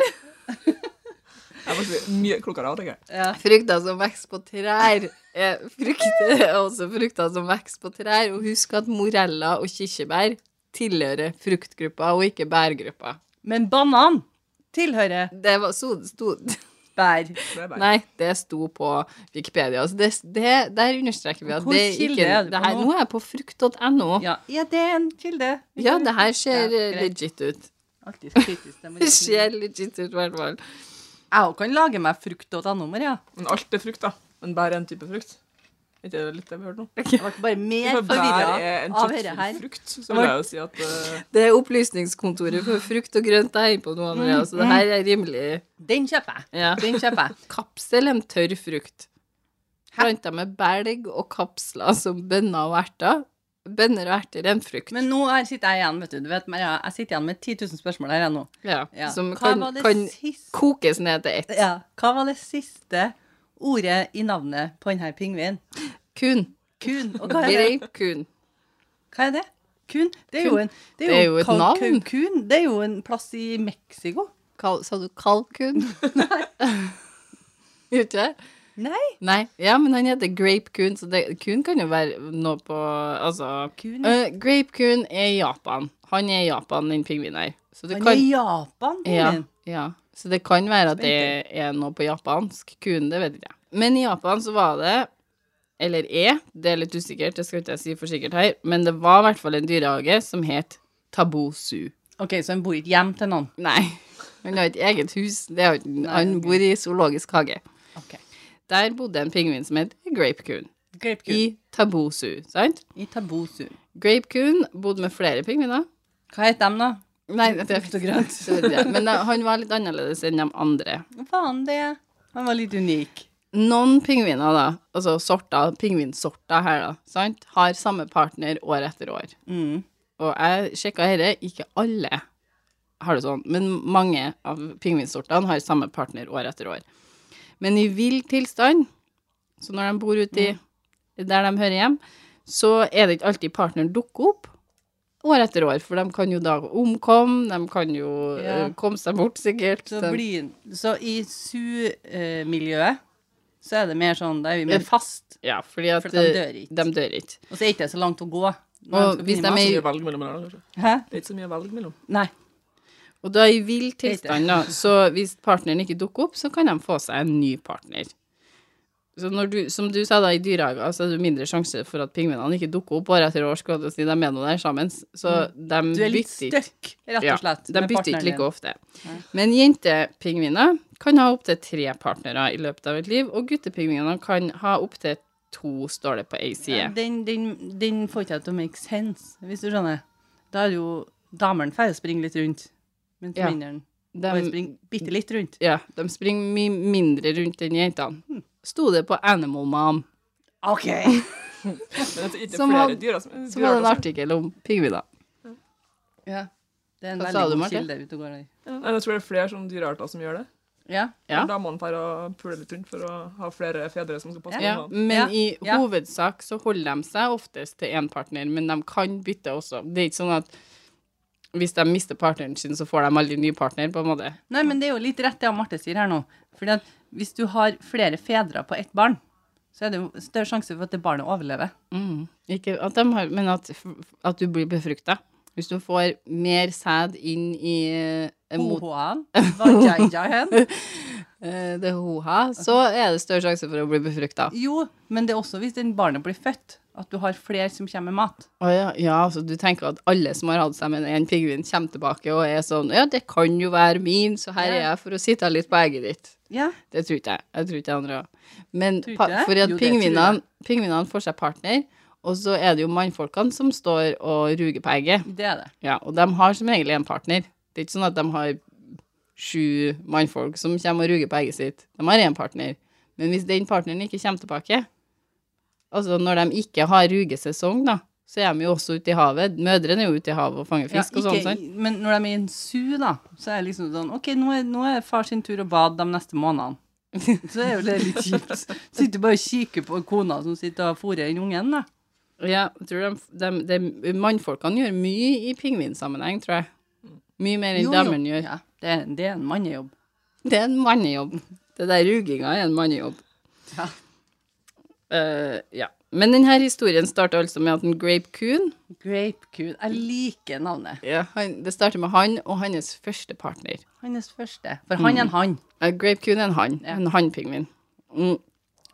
[SPEAKER 3] Jeg var faktisk mye klokere av, tenker jeg.
[SPEAKER 2] Ja.
[SPEAKER 1] Frukter som vokser på trær, er frukter, er også frukter som vokser på trær. Og husk at moreller og kirsebær tilhører fruktgruppa og ikke bærgruppa.
[SPEAKER 2] Men banan tilhører
[SPEAKER 1] Det var, so, sto,
[SPEAKER 2] bær.
[SPEAKER 3] Det er bare-
[SPEAKER 1] nei, det sto på Wikipedia. Altså det, det, der understreker vi at
[SPEAKER 2] Hvor
[SPEAKER 1] det
[SPEAKER 2] kilde
[SPEAKER 1] ikke
[SPEAKER 2] er det
[SPEAKER 1] det
[SPEAKER 2] på
[SPEAKER 1] her,
[SPEAKER 2] nå?
[SPEAKER 1] Nå er jeg på frukt.no. Ja.
[SPEAKER 2] Ja, er det en kilde?
[SPEAKER 1] det her ser
[SPEAKER 2] Ja, greit.
[SPEAKER 1] legit ut.
[SPEAKER 2] Alltid kritisk. Det må
[SPEAKER 1] Det
[SPEAKER 2] jeg si.
[SPEAKER 1] ser legit ut, i hvert fall.
[SPEAKER 2] Jeg kan lage meg frukt.no, Maria.
[SPEAKER 3] Men alt er frukt, da. Men bær er en type frukt. Er ikke det litt det vi hørte nå?
[SPEAKER 2] Jeg ble bare mer
[SPEAKER 3] For bær
[SPEAKER 2] forvirra
[SPEAKER 3] er en
[SPEAKER 2] av dette
[SPEAKER 3] type
[SPEAKER 2] her.
[SPEAKER 3] frukt, så vil jeg jo si at eh,
[SPEAKER 1] Det er Opplysningskontoret for frukt og grønt jeg er inne på nå, Andrea, så
[SPEAKER 2] Mm.
[SPEAKER 1] det her er rimelig
[SPEAKER 2] Den kjøper jeg.
[SPEAKER 1] ja.
[SPEAKER 2] Den kjøper jeg.
[SPEAKER 1] Kapsel en tørr frukt.
[SPEAKER 2] Hæ?
[SPEAKER 1] Planta med belg og kapsler som bønner og erter. Bønner og erter er en frukt.
[SPEAKER 2] Men nå her sitter jeg igjen, vet du. du vet, Maria, jeg sitter igjen med 10 000 spørsmål her jeg nå.
[SPEAKER 1] ja,
[SPEAKER 2] Ja.
[SPEAKER 1] Som
[SPEAKER 2] Hva
[SPEAKER 1] kan,
[SPEAKER 2] var det
[SPEAKER 1] kan
[SPEAKER 2] siste-
[SPEAKER 1] kokes ned til ett.
[SPEAKER 2] Ja. Hva var det siste ordet i navnet på denne pingvinen?
[SPEAKER 1] Kun.
[SPEAKER 2] Kun. Og hva er det?
[SPEAKER 1] Grapekun.
[SPEAKER 2] Hva er det? Kun? Det er jo,
[SPEAKER 1] Kun.
[SPEAKER 2] en, det
[SPEAKER 1] Det er jo et
[SPEAKER 2] kal-
[SPEAKER 1] navn.
[SPEAKER 2] Cancun. Det er jo en plass i Mexico.
[SPEAKER 1] Kal, sa du kalkun? Gjorde ikke det?
[SPEAKER 2] Nei.
[SPEAKER 1] Nei. Ja, men han heter grapekun, så det, kun kan jo være noe på Altså
[SPEAKER 2] Kun.
[SPEAKER 1] Eh, Grapekun er i Japan. Han er i Japan, den pingvinen her. Så det
[SPEAKER 2] Han er
[SPEAKER 1] kan
[SPEAKER 2] i Japan,
[SPEAKER 1] Ja,
[SPEAKER 2] pingvinen.
[SPEAKER 1] ja. Så det kan være at det er noe på japansk. Kun det vet ikke jeg. Men i Japan så var det, eller er, det er litt usikkert, det skal ikke jeg si for sikkert her, men det var i hvert fall en dyrehage som het Tabosu.
[SPEAKER 2] OK, så han bor ikke hjem til noen.
[SPEAKER 1] Nei, han har ikke eget hus, det har, ikke- han
[SPEAKER 2] ok.
[SPEAKER 1] bor i zoologisk hage.
[SPEAKER 2] Ok.
[SPEAKER 1] Der bodde en pingvin som het Grapekun,
[SPEAKER 2] Grapekun.
[SPEAKER 1] i Tabosu, sant?
[SPEAKER 2] I, Tabosu.
[SPEAKER 1] Grapekun bodde med flere pingviner.
[SPEAKER 2] Hva heter de, da?
[SPEAKER 1] Nei, det er
[SPEAKER 2] Frukt og grønt.
[SPEAKER 1] Det vet jeg. Men eh, han var litt annerledes enn de andre.
[SPEAKER 2] Hva faen det er? Han var litt unik.
[SPEAKER 1] noen pingviner, da, altså sorter, pingvinsorter her, da, sant, har samme partner år etter år.
[SPEAKER 2] Mm.
[SPEAKER 1] Og jeg sjekka dette, ikke alle har det sånn, men mange av pingvinsortene har samme partner år etter år. Men i vill tilstand, så når de bor uti
[SPEAKER 2] Mm.
[SPEAKER 1] der de hører hjem, så er det ikke alltid partneren dukker opp år etter år, for de kan jo da omkomme, de kan jo
[SPEAKER 2] Ja.
[SPEAKER 1] eh, komme seg bort, sikkert.
[SPEAKER 2] Så,
[SPEAKER 1] de-
[SPEAKER 2] blir, så i su-miljøet så er det mer sånn Da er
[SPEAKER 1] Eh,
[SPEAKER 2] vi mer fast,
[SPEAKER 1] ja, fordi at
[SPEAKER 2] for de
[SPEAKER 1] eh,
[SPEAKER 2] dør ikke.
[SPEAKER 1] De dør ikke.
[SPEAKER 2] og så er det ikke så langt å gå. når
[SPEAKER 1] Og
[SPEAKER 2] skal
[SPEAKER 1] hvis
[SPEAKER 2] begynne
[SPEAKER 1] de
[SPEAKER 2] med.
[SPEAKER 1] er
[SPEAKER 3] mye valg mellom her, da, kanskje.
[SPEAKER 2] Hæ?
[SPEAKER 3] Det er ikke så mye valg mellom.
[SPEAKER 2] Nei.
[SPEAKER 1] Og da i vill tilstand, da, så hvis partneren ikke dukker opp, så kan de få seg en ny partner. Så når du, som du sa da, i dyrehager så er det mindre sjanse for at pingvinene ikke dukker opp år etter år, skulle jeg til å si, de er nå der sammen, så de
[SPEAKER 2] Mm. Du er litt
[SPEAKER 1] bytter ikke.
[SPEAKER 2] stuck, rett og slett.
[SPEAKER 1] de
[SPEAKER 2] med
[SPEAKER 1] bytter
[SPEAKER 2] partneren
[SPEAKER 1] ikke like
[SPEAKER 2] din.
[SPEAKER 1] ofte. Men jentepingviner kan ha opptil tre partnere i løpet av et liv, og guttepingvinene kan ha opptil to, står det på ei
[SPEAKER 2] Ja,
[SPEAKER 1] side.
[SPEAKER 2] Den, den, den får ikke jeg til å make sense, hvis du skjønner. Da er jo damene ferdig å springe litt rundt, mens
[SPEAKER 1] Ja.
[SPEAKER 2] minneren bare
[SPEAKER 1] De,
[SPEAKER 2] springer bitte litt rundt.
[SPEAKER 1] ja, de springer mye mindre rundt enn
[SPEAKER 2] Hm.
[SPEAKER 1] jentene. Sto det på Animal Mom.
[SPEAKER 2] OK!
[SPEAKER 3] Men det er ikke
[SPEAKER 1] Som
[SPEAKER 3] flere
[SPEAKER 1] han-
[SPEAKER 3] dyr, altså.
[SPEAKER 1] Så var det en artikkel om pingviner.
[SPEAKER 2] Ja. Det er en
[SPEAKER 1] Hva sa du,
[SPEAKER 2] veldig god
[SPEAKER 1] Marte?
[SPEAKER 2] kilde ute og går der.
[SPEAKER 3] Nei, Jeg tror det er flere sånn dyrearter som gjør det.
[SPEAKER 2] Ja.
[SPEAKER 1] Ja.
[SPEAKER 3] Når Damene drar og puler litt rundt for å ha flere fedre som skal passe
[SPEAKER 1] Ja,
[SPEAKER 3] på ungene.
[SPEAKER 1] men
[SPEAKER 2] Ja,
[SPEAKER 1] i
[SPEAKER 2] ja.
[SPEAKER 1] hovedsak så holder de seg oftest til én partner, men de kan bytte også. Det er ikke sånn at hvis de mister partneren sin, så får de aldri ny partner, på en måte.
[SPEAKER 2] Nei, men det er jo litt rett det Marte sier her nå. Fordi at hvis du har flere fedre på ett barn, så er det jo større sjanse for at det barnet overlever.
[SPEAKER 1] Ikke at de har, men at, f- at du blir befrukta. Hvis du får mer sæd inn i eh, mot,
[SPEAKER 2] Hohoan, vajajahen.
[SPEAKER 1] eh, det hoha, så er det større sjanse for å bli befrukta.
[SPEAKER 2] Jo, men det er også hvis den barnet blir født, at du har flere som kommer med mat.
[SPEAKER 1] Å ja, ja, så du tenker at alle som har hatt seg med en pingvin, kommer tilbake og er sånn Ja, det kan jo være min, så her er
[SPEAKER 2] Ja.
[SPEAKER 1] jeg for å sitte litt på egget ditt.
[SPEAKER 2] Ja,
[SPEAKER 1] Det tror ikke jeg. Jeg tror ikke andre òg. Men
[SPEAKER 2] Tror ikke
[SPEAKER 1] pa-
[SPEAKER 2] det?
[SPEAKER 1] for at
[SPEAKER 2] Jo, det tror jeg.
[SPEAKER 1] pingvinene, pingvinene får seg partner, og så er det jo mannfolkene som står og ruger på egget.
[SPEAKER 2] det er det.
[SPEAKER 1] Ja, og de har som regel en partner. Det er ikke sånn at de har sju mannfolk som kommer og ruger på egget sitt. De har én partner. Men hvis den partneren ikke kommer tilbake, altså når de ikke har rugesesong, da, så er de jo også ute i havet. Mødrene er jo ute i havet og fanger
[SPEAKER 2] Ja,
[SPEAKER 1] fisk og sånn.
[SPEAKER 2] ikke-
[SPEAKER 1] sant?
[SPEAKER 2] Men når de er i en su, da, så er det liksom sånn OK, nå er, nå er far sin tur å bade de neste månedene. Så er jo det litt kjipt. Sitter bare og kikker på kona som sitter og fôrer den ungen, da.
[SPEAKER 1] Ja, jeg tror de, de, de, mannfolkene gjør mye i pingvinsammenheng, tror jeg. Mye mer enn
[SPEAKER 2] Jo, jo.
[SPEAKER 1] damene gjør.
[SPEAKER 2] Ja, det, er- det er en mannejobb.
[SPEAKER 1] Det er en mannejobb. Det der ruginga er en mannejobb.
[SPEAKER 2] Ja.
[SPEAKER 1] Eh, ja. Men denne historien starter altså med at en Grape Coon
[SPEAKER 2] Grape Coon. Jeg liker navnet.
[SPEAKER 1] han, Det starter med han og hans første partner.
[SPEAKER 2] Hans første. For han er en han.
[SPEAKER 1] Eh, Grape Coon er en hann. En hannpingvin. Mm.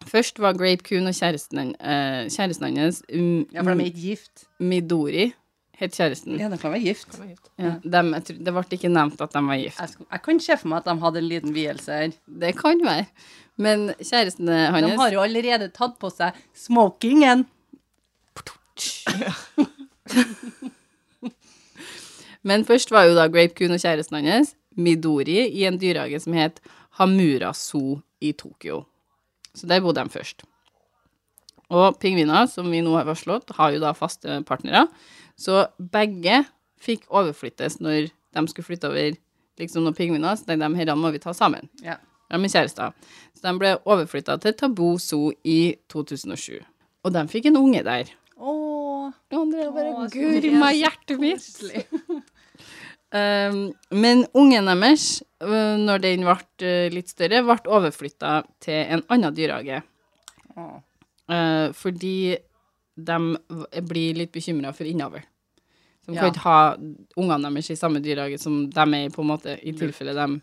[SPEAKER 1] Først var Grape Coon og kjæresten, han- eh, kjæresten hans, um,
[SPEAKER 2] Ja, for de er ikke gift.
[SPEAKER 1] Midori, het kjæresten.
[SPEAKER 2] Mm. Ja, de kan være gift.
[SPEAKER 3] Han er gift.
[SPEAKER 1] Ja, dem- jeg tror- det ble ikke nevnt at de var gift.
[SPEAKER 2] Jeg, skulle, jeg kan se for meg at de hadde en liten vielse her.
[SPEAKER 1] Det kan være. Men kjæresten eh,
[SPEAKER 2] De
[SPEAKER 1] hans
[SPEAKER 2] har jo allerede tatt på seg smokingen.
[SPEAKER 1] Men først var jo da Grape Coon og kjæresten hans, Midori, i en dyrehage som het Hamura Zoo i Tokyo. Så der bodde de først. Og pingviner, som vi nå har varslet, har jo da faste partnere. Så begge fikk overflyttes når de skulle flytte over liksom noen pingviner, så tenkte de herrene må vi ta sammen.
[SPEAKER 2] Ja.
[SPEAKER 1] De er kjærester. Så de ble overflytta til Tabo Zoo i 2007. Og de fikk en unge der.
[SPEAKER 2] Åh,
[SPEAKER 1] Og han drev bare
[SPEAKER 2] Åh, så
[SPEAKER 1] gurma i hjertet mitt.
[SPEAKER 2] koselig.
[SPEAKER 1] Um, men ungen deres, øh, når den ble litt større, ble overflytta til en annen dyrehage.
[SPEAKER 2] Åh.
[SPEAKER 1] Eh, fordi de v- blir litt bekymra for innavl. De kan
[SPEAKER 2] Ja.
[SPEAKER 1] ikke ha ungene deres i samme dyrehage som de er i, på en måte, i tilfelle de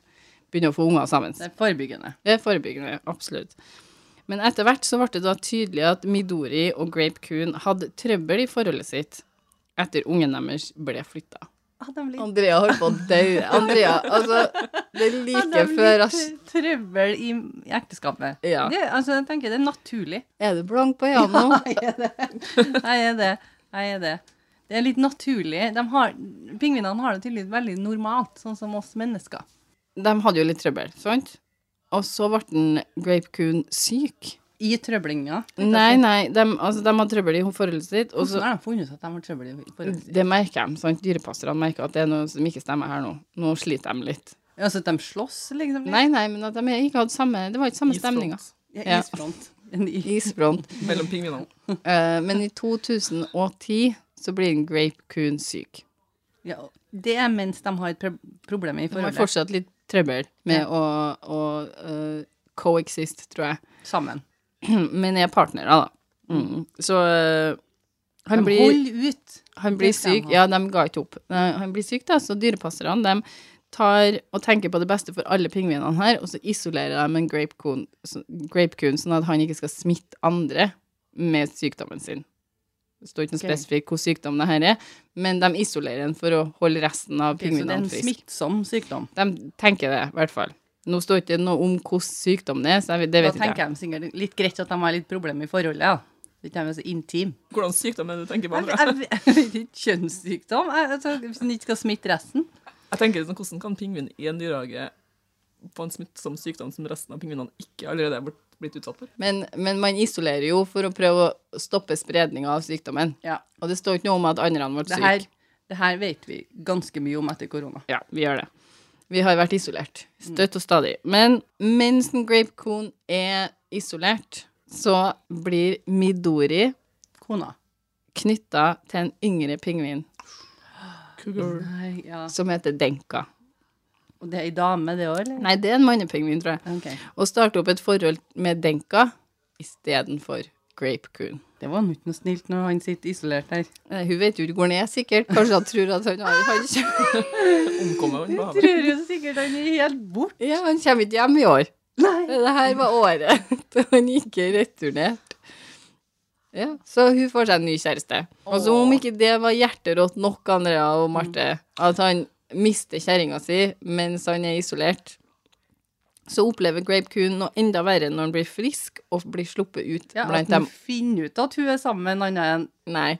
[SPEAKER 1] begynner å få unger sammen.
[SPEAKER 2] Det er forebyggende.
[SPEAKER 1] Det er forebyggende, absolutt. Men etter hvert så ble det da tydelig at Midori og Grape Coon hadde trøbbel i forholdet sitt etter ungen deres ble flytta.
[SPEAKER 2] Ah, de blir
[SPEAKER 1] Andrea holdt på å dø. Andrea, altså Det er like før ass.
[SPEAKER 2] Trøbbel i i ekteskapet.
[SPEAKER 1] Ja.
[SPEAKER 2] Det, altså, jeg tenker det er naturlig.
[SPEAKER 1] Er du blank på øynene nå?
[SPEAKER 2] Jeg er det. Jeg er det. Jeg er det. Det er litt naturlig. De har, pingvinene har det tydeligvis veldig normalt, sånn som oss mennesker.
[SPEAKER 1] De hadde jo litt trøbbel, sant? Og så ble den Grape Coon syk.
[SPEAKER 2] I trøblinga.
[SPEAKER 1] Nei, nei, de, altså, de hadde trøbbel i forholdet sitt, og så Mm.
[SPEAKER 2] Hvordan har de funnet ut at de har trøbbel i forholdet sitt?
[SPEAKER 1] Det merker de, sant? Dyrepasserne merker at det er noe som ikke stemmer her nå. Nå sliter de litt.
[SPEAKER 2] Altså at de slåss, liksom?
[SPEAKER 1] Nei, nei, men at de ikke hadde samme Det var ikke samme stemninga.
[SPEAKER 3] Isfront
[SPEAKER 2] Ja,
[SPEAKER 1] ja.
[SPEAKER 2] isfront. En i-
[SPEAKER 1] Isfront.
[SPEAKER 3] Mellom pingvinene.
[SPEAKER 1] Eh, men i 2010 så blir en grape coon syk.
[SPEAKER 2] Ja, det er mens de har et pro- problem i
[SPEAKER 1] De har
[SPEAKER 2] forholdet.
[SPEAKER 1] fortsatt litt trøbbel med å, å eh, coexist, tror jeg.
[SPEAKER 2] Sammen.
[SPEAKER 1] Men er partnere, da. Mm. Så eh,
[SPEAKER 2] De
[SPEAKER 1] han blir,
[SPEAKER 2] holder ut.
[SPEAKER 1] han blir
[SPEAKER 2] det skal de
[SPEAKER 1] syk.
[SPEAKER 2] ha.
[SPEAKER 1] Ja, de ga ikke opp. Nei, Han blir syk, da, så dyrepasserne de tar og tenker på det beste for alle pingvinene her, og så isolerer de en grape coon, så- grape coon sånn at han ikke skal smitte andre med sykdommen sin. Det står ikke noe
[SPEAKER 2] Ok.
[SPEAKER 1] spesifikt hvor sykdom det her er, men de isolerer den for å holde resten av
[SPEAKER 2] så det er
[SPEAKER 1] pingvinene
[SPEAKER 2] en
[SPEAKER 1] friske.
[SPEAKER 2] smittsom sykdom.
[SPEAKER 1] De tenker det, i hvert fall. Nå står ikke noe om hvordan sykdom det er, så jeg, vet- det
[SPEAKER 2] Da
[SPEAKER 1] vet ikke jeg.
[SPEAKER 2] tenker jeg sikkert litt greit at de har litt problem i forholdet. Ja. Det er ikke så intim.
[SPEAKER 3] Hvordan sykdom er det du tenker på?
[SPEAKER 2] Jeg,
[SPEAKER 3] Andrea?
[SPEAKER 2] jeg, jeg vet ikke kjønnssykdom. Jeg, altså, hvis en ikke skal smitte resten.
[SPEAKER 3] Jeg tenker sånn, Hvordan kan pingvin i en dyrehage få en smittsom sykdom som resten av pingvinene ikke allerede er blitt- blitt utsatt for?
[SPEAKER 1] Men, men man isolerer jo for å prøve å stoppe spredninga av sykdommen.
[SPEAKER 2] Ja.
[SPEAKER 1] Og det står ikke noe om at andre ble
[SPEAKER 2] Det her,
[SPEAKER 1] syke.
[SPEAKER 2] det her vet vi ganske mye om etter korona.
[SPEAKER 1] Ja, vi gjør det. Vi har vært isolert. Støtt og stadig. Men mens en grape coon er isolert, så blir Midori
[SPEAKER 2] Kona.
[SPEAKER 1] knytta til en yngre pingvin
[SPEAKER 3] Cougar.
[SPEAKER 2] Nei, ja.
[SPEAKER 1] som heter Denka.
[SPEAKER 2] Og det er ei dame, det òg, eller?
[SPEAKER 1] Nei, det er en mannepingvin, tror jeg.
[SPEAKER 2] Ok.
[SPEAKER 1] og starte opp et forhold med Denka istedenfor Grape Coon.
[SPEAKER 2] Det var nå ikke noe snilt når han sitter isolert der.
[SPEAKER 1] Eh, Hun vet jo ikke hvor den er, sikkert. Kanskje han tror at han har han kommer,
[SPEAKER 3] Omkommer han på havet?
[SPEAKER 2] Tror jo sikkert han er helt bort.
[SPEAKER 1] ja, han kommer ikke hjem i år.
[SPEAKER 2] Nei.
[SPEAKER 1] Det her var året da han ikke returnerte. Ja, så hun får seg en ny kjæreste. Og som om ikke det var hjerterått nok, Andrea og Marte,
[SPEAKER 2] Mm.
[SPEAKER 1] at han mister kjerringa si mens han er isolert, så opplever Grape Coon noe enda verre når han blir frisk og blir sluppet ut
[SPEAKER 2] Ja, at
[SPEAKER 1] blant
[SPEAKER 2] han
[SPEAKER 1] dem
[SPEAKER 2] finner ut at hun er sammen med en annen enn
[SPEAKER 1] Nei.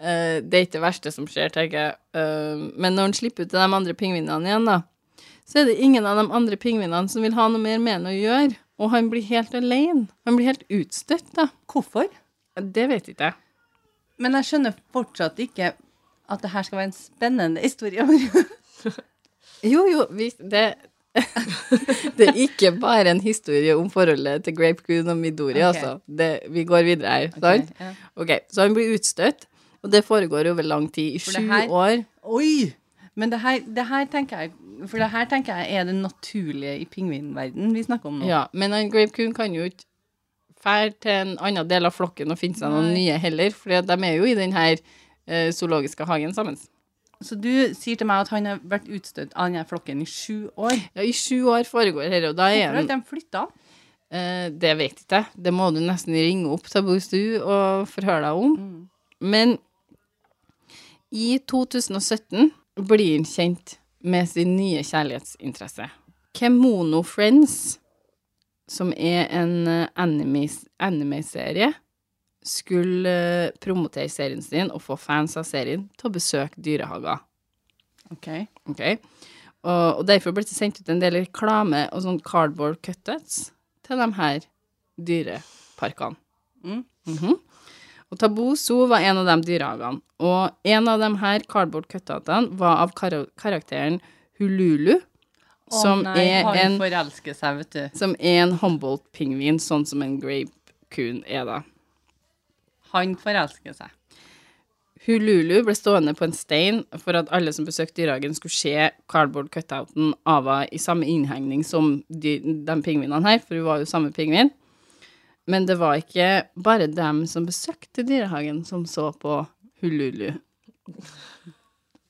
[SPEAKER 1] Eh, det er ikke det verste som skjer, tenker jeg. Eh, men når han slipper ut til de andre pingvinene igjen, da, så er det ingen av de andre pingvinene som vil ha noe mer med han å gjøre. Og han blir helt alene. Han blir helt utstøtt, da.
[SPEAKER 2] Hvorfor?
[SPEAKER 1] Det vet ikke jeg.
[SPEAKER 2] Men jeg skjønner fortsatt ikke at det her skal være en spennende historie. Nei,
[SPEAKER 1] Jo, jo, vi, det Det er ikke bare en historie om forholdet til Grape Goon og Midori,
[SPEAKER 2] Ok.
[SPEAKER 1] altså. Det, vi går videre her, sant?
[SPEAKER 2] ja.
[SPEAKER 1] Ok, så han blir utstøtt, og det foregår over lang tid. I
[SPEAKER 2] det
[SPEAKER 1] sju
[SPEAKER 2] her-
[SPEAKER 1] år.
[SPEAKER 2] Oi! Men det her, det her tenker jeg For det her tenker jeg er det naturlige i pingvinverdenen vi snakker om nå.
[SPEAKER 1] Ja, men han Grape Coon kan jo ikke fær til en annen del av flokken og finne seg noen nye heller, for de er jo i den her eh, zoologiske hagen sammen.
[SPEAKER 2] Så du sier til meg at han har vært utstøtt av denne flokken i sju år.
[SPEAKER 1] Ja, I sju år foregår dette, og da er
[SPEAKER 2] Hvorfor har
[SPEAKER 1] han
[SPEAKER 2] ikke de flytta?
[SPEAKER 1] Eh, det vet ikke jeg. Det må du nesten ringe opp til Boostu og forhøre deg om. Men i 2017 blir han kjent med sin nye kjærlighetsinteresse. Kemono Friends, som er en eh, animes- anime-serie, skulle eh, promotere serien sin og få fans av serien til å besøke dyrehager.
[SPEAKER 2] Ok.
[SPEAKER 1] Ok. Og, og derfor ble det sendt ut en del reklame og sånn cardboard cuttets til de her dyreparkene.
[SPEAKER 2] Mm.
[SPEAKER 1] Mhm. Og Tabo Zoo var en av de dyrehagene. Og en av de her cardboard cuttetene var av kar karakteren Hululu,
[SPEAKER 2] Å
[SPEAKER 1] som,
[SPEAKER 2] nei,
[SPEAKER 1] er
[SPEAKER 2] han
[SPEAKER 1] en,
[SPEAKER 2] forelsker seg, vet du.
[SPEAKER 1] som er en Humboldt-pingvin, sånn som en grape coon er, da.
[SPEAKER 2] Han forelsker seg.
[SPEAKER 1] Hululu ble stående på en stein for at alle som besøkte dyrehagen, skulle se cardboard cutouten Ava i samme innhegning som de, de pingvinene her, for hun var jo samme pingvin. Men det var ikke bare dem som besøkte dyrehagen, som så på Hululu.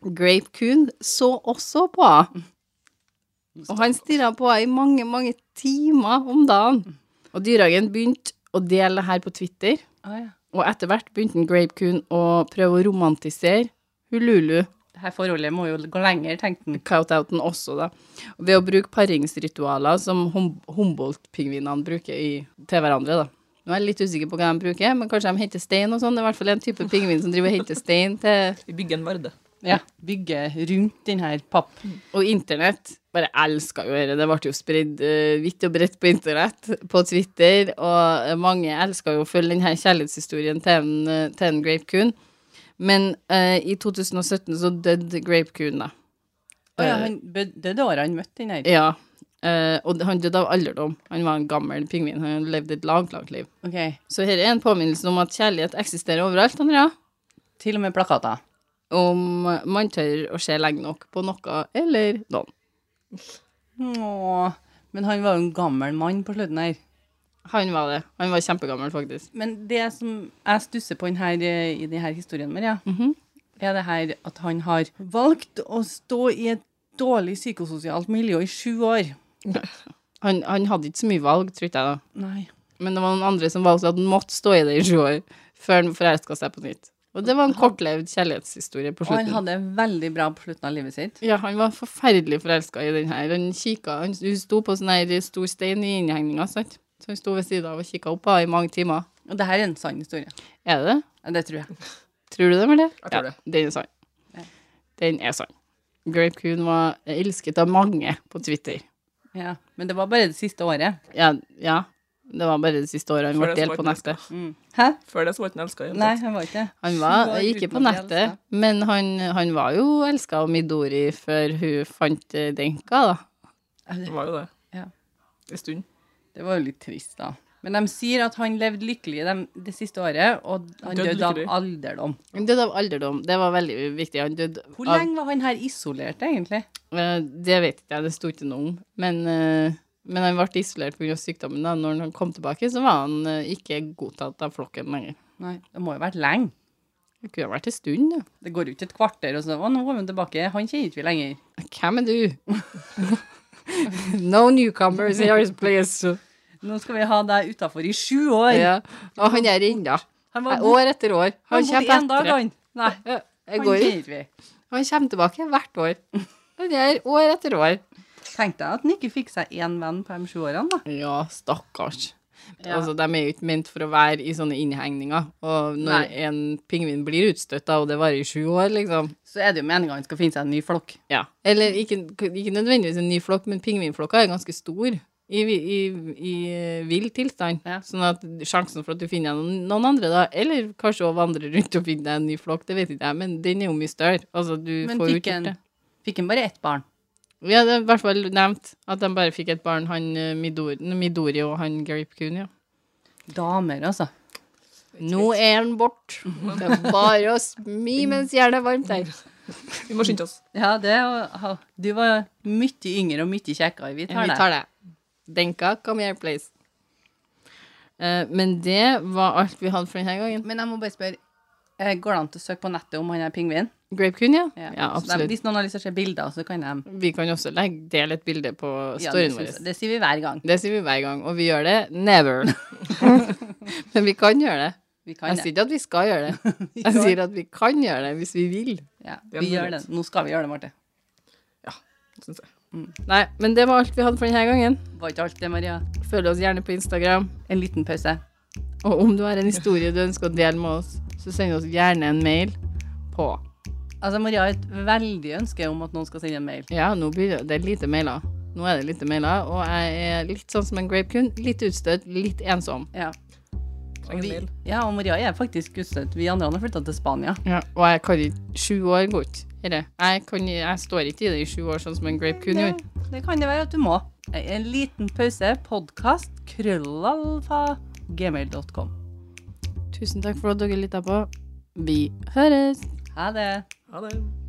[SPEAKER 1] Grape Coon så også på henne. Og han stirra på henne i mange, mange timer om dagen. Og dyrehagen begynte å dele det her på Twitter.
[SPEAKER 2] Å ja.
[SPEAKER 1] Og etter hvert begynte en Grape Coon å prøve å romantisere Hululu,
[SPEAKER 2] Dette forholdet må jo gå lenger, tenkte han.
[SPEAKER 1] Coutouten også, da, ved å bruke paringsritualer som hum Humboldt-pingvinene bruker i, til hverandre, da. Nå er jeg litt usikker på hva de bruker, men kanskje de henter stein og sånn. Det er i hvert fall en type pingvin som driver og henter stein til
[SPEAKER 3] Vi bygger en varde.
[SPEAKER 2] Ja, bygge rundt denne papp...
[SPEAKER 1] Og internett bare elska jo dette. Det ble jo spredd eh, vidt og bredt på internett, på Twitter, og eh, mange elska jo å følge denne kjærlighetshistorien til en, eh, til en Grape Coon. Men eh, i 2017 så døde Grape Coon, da.
[SPEAKER 2] Å ja, han bød- døde året han møtte den her.
[SPEAKER 1] Eh, Ja. eh, og han døde av alderdom. Han var en gammel pingvin. Han levde et langt, langt liv.
[SPEAKER 2] Ok,
[SPEAKER 1] Så dette er en påminnelse om at kjærlighet eksisterer overalt, Andrea.
[SPEAKER 2] til og med plakater.
[SPEAKER 1] Om man tør å se lenge nok på noe eller noen.
[SPEAKER 2] Åh, men han var jo en gammel mann på slutten her.
[SPEAKER 1] Han var det. Han var kjempegammel, faktisk.
[SPEAKER 2] Men det som jeg stusser på den her, eh, i denne historien, Maria,
[SPEAKER 1] Mhm.
[SPEAKER 2] er det her at han har valgt å stå i et dårlig psykososialt miljø i sju år.
[SPEAKER 1] Han, han hadde ikke så mye valg, tror ikke jeg da.
[SPEAKER 2] Nei.
[SPEAKER 1] Men det var noen andre som valgte at han måtte stå i det i sju år før han forelska seg på nytt. Og det var en kortlevd kjærlighetshistorie på
[SPEAKER 2] Og han
[SPEAKER 1] slutten.
[SPEAKER 2] hadde det veldig bra på slutten av livet sitt.
[SPEAKER 1] Ja, han var forferdelig forelska i den her. Han kikka han, Hun sto på sånn her stor stein i innhegninga, sant. Så hun sto ved sida av og kikka opp på henne i mange timer.
[SPEAKER 2] Og det her er en sann historie.
[SPEAKER 1] Er det det?
[SPEAKER 2] Ja, Det tror jeg.
[SPEAKER 1] Tror du det, Marte?
[SPEAKER 3] Jeg tror det.
[SPEAKER 1] Den er sann.
[SPEAKER 2] Ja.
[SPEAKER 1] Den er sann. Grape Coon var elsket av mange på Twitter.
[SPEAKER 2] Ja. Men det var bare det siste året.
[SPEAKER 1] Ja, ja. det var bare det siste året han
[SPEAKER 3] Før
[SPEAKER 1] ble
[SPEAKER 3] det så
[SPEAKER 1] delt
[SPEAKER 3] var
[SPEAKER 1] på
[SPEAKER 3] den
[SPEAKER 1] nettet.
[SPEAKER 2] Mm. Hæ?
[SPEAKER 3] Før det så var ikke den elska.
[SPEAKER 2] Nei, han var ikke det.
[SPEAKER 1] Han
[SPEAKER 2] Sju
[SPEAKER 1] var
[SPEAKER 2] år
[SPEAKER 1] ikke på
[SPEAKER 2] uten å bli
[SPEAKER 1] nettet,
[SPEAKER 2] elsket.
[SPEAKER 1] men han, han var jo elska av Midori før hun fant eh, Denka, da.
[SPEAKER 3] Det var jo det.
[SPEAKER 2] Ja.
[SPEAKER 3] En stund.
[SPEAKER 2] Det var jo litt trist, da. Men de sier at han levde lykkelig dem, det siste året, og han
[SPEAKER 3] Død
[SPEAKER 2] døde av
[SPEAKER 3] lykkelig.
[SPEAKER 2] alderdom.
[SPEAKER 1] Han døde av alderdom, det var veldig viktig. Han døde
[SPEAKER 2] Hvor
[SPEAKER 1] av
[SPEAKER 2] lenge var han her isolert, egentlig?
[SPEAKER 1] Eh, Det vet ikke jeg, det sto ikke noe om. Men, eh, men han ble isolert pga. sykdommen. Da Når han kom tilbake, så var han eh, ikke godtatt av flokken lenger.
[SPEAKER 2] Nei, Det må jo ha vært lenge.
[SPEAKER 1] Det kunne vært en stund, da.
[SPEAKER 2] Det går jo ikke et kvarter, og så Å, nå er han tilbake. Han kjenner ikke vi lenger.
[SPEAKER 1] Hvem er du? no newcomers in this place.
[SPEAKER 2] Nå skal vi ha deg utafor i sju år.
[SPEAKER 1] Ja. Og han er ennå.
[SPEAKER 2] Han var bort,
[SPEAKER 1] År etter år.
[SPEAKER 2] han
[SPEAKER 1] Han
[SPEAKER 2] bodde én
[SPEAKER 1] kommer
[SPEAKER 2] dag,
[SPEAKER 1] etter.
[SPEAKER 2] han. Nei,
[SPEAKER 1] Ja, Jeg
[SPEAKER 2] han
[SPEAKER 1] går
[SPEAKER 2] kjenner
[SPEAKER 1] ut.
[SPEAKER 2] ikke vi.
[SPEAKER 1] Han kommer tilbake hvert år. Han er år etter år.
[SPEAKER 2] Tenk deg at han ikke fikk seg én venn på de sju årene, da.
[SPEAKER 1] Ja, stakkars.
[SPEAKER 2] Ja.
[SPEAKER 1] Altså, de er jo ikke ment for å være i sånne innhegninger. Og når
[SPEAKER 2] Nei.
[SPEAKER 1] en pingvin blir utstøtt, da, og det varer i sju år, liksom
[SPEAKER 2] Så er det jo meninga han skal finne seg en ny flokk.
[SPEAKER 1] Ja. Eller ikke, ikke nødvendigvis en ny flokk, men pingvinflokka er ganske stor i, vi- i, i eh, vill tilstand.
[SPEAKER 2] Ja.
[SPEAKER 1] Sånn at sjansen for at du finner noen, noen andre, da, eller kanskje å vandre rundt og finne deg en ny flokk, det vet ikke jeg, men den er jo mye større. Altså, du
[SPEAKER 2] Men
[SPEAKER 1] får jo
[SPEAKER 2] fikk
[SPEAKER 1] ikke gjort
[SPEAKER 2] han,
[SPEAKER 1] det.
[SPEAKER 2] fikk han bare ett barn?
[SPEAKER 1] Ja, det er i hvert fall nevnt at de bare fikk et barn, han eh, Midori, Midori og han Garip Coon, ja.
[SPEAKER 2] Damer, altså.
[SPEAKER 1] Nå er han bort. Det er bare å smi mens jernet er varmt her.
[SPEAKER 3] Vi må skynde oss.
[SPEAKER 2] Ja, det var- Du var mye yngre og mye kjekkere. Vi tar
[SPEAKER 1] Vi
[SPEAKER 2] det.
[SPEAKER 1] tar det. Denka, come here, please. Eh, men det var alt vi hadde for denne gangen.
[SPEAKER 2] Men jeg må bare spørre, eh, går det an til å søke på nettet om han er pingvin?
[SPEAKER 1] Grape Coon, ja? Ja,
[SPEAKER 2] Så de-
[SPEAKER 1] absolutt.
[SPEAKER 2] Hvis noen har lyst til å se bilder, så kan de
[SPEAKER 1] Vi kan også legge, dele et bilde på
[SPEAKER 2] ja,
[SPEAKER 1] storyen
[SPEAKER 2] det
[SPEAKER 1] vår.
[SPEAKER 2] syns jeg- Det sier vi hver gang.
[SPEAKER 1] Det sier vi hver gang, og vi gjør det never. men vi kan gjøre det.
[SPEAKER 2] Vi kan
[SPEAKER 1] Jeg sier
[SPEAKER 2] det.
[SPEAKER 1] ikke at vi skal gjøre det.
[SPEAKER 2] Vi,
[SPEAKER 1] Jeg
[SPEAKER 2] kan-
[SPEAKER 1] sier at vi kan gjøre det hvis vi vil.
[SPEAKER 2] ja,
[SPEAKER 3] er
[SPEAKER 2] vi gjør
[SPEAKER 3] mulighet.
[SPEAKER 2] det. Nå skal vi gjøre det, Marte.
[SPEAKER 3] synes jeg.
[SPEAKER 1] Nei, men det var alt vi hadde for denne gangen.
[SPEAKER 2] Var ikke alt det, Maria?
[SPEAKER 1] Følg oss gjerne på Instagram.
[SPEAKER 2] En liten pause.
[SPEAKER 1] Og om du har en historie du ønsker å dele med oss, så send oss gjerne en mail på
[SPEAKER 2] Altså, Maria har et veldig ønske om at noen skal sende en mail.
[SPEAKER 1] Ja, nå blir det- det er lite mailer. Nå er det lite mailer, og jeg er litt sånn som en grapekun. Litt utstøtt, litt ensom.
[SPEAKER 2] Ja,
[SPEAKER 3] Trenger en
[SPEAKER 2] vi,
[SPEAKER 3] mail.
[SPEAKER 2] ja og Maria er faktisk utstøtt. Vi andre har flytta til Spania.
[SPEAKER 1] Og jeg kan ikke Sju år går ikke. Herre, Jeg, kan, jeg står ikke i det i sju år, sånn som en grapekun gjorde.
[SPEAKER 2] Det kan det være at du må. En liten pause. Podkast krøllalfa gmail.com.
[SPEAKER 1] Tusen takk for at dere lytta på. Vi høres!
[SPEAKER 2] Ha det.
[SPEAKER 3] Ha det.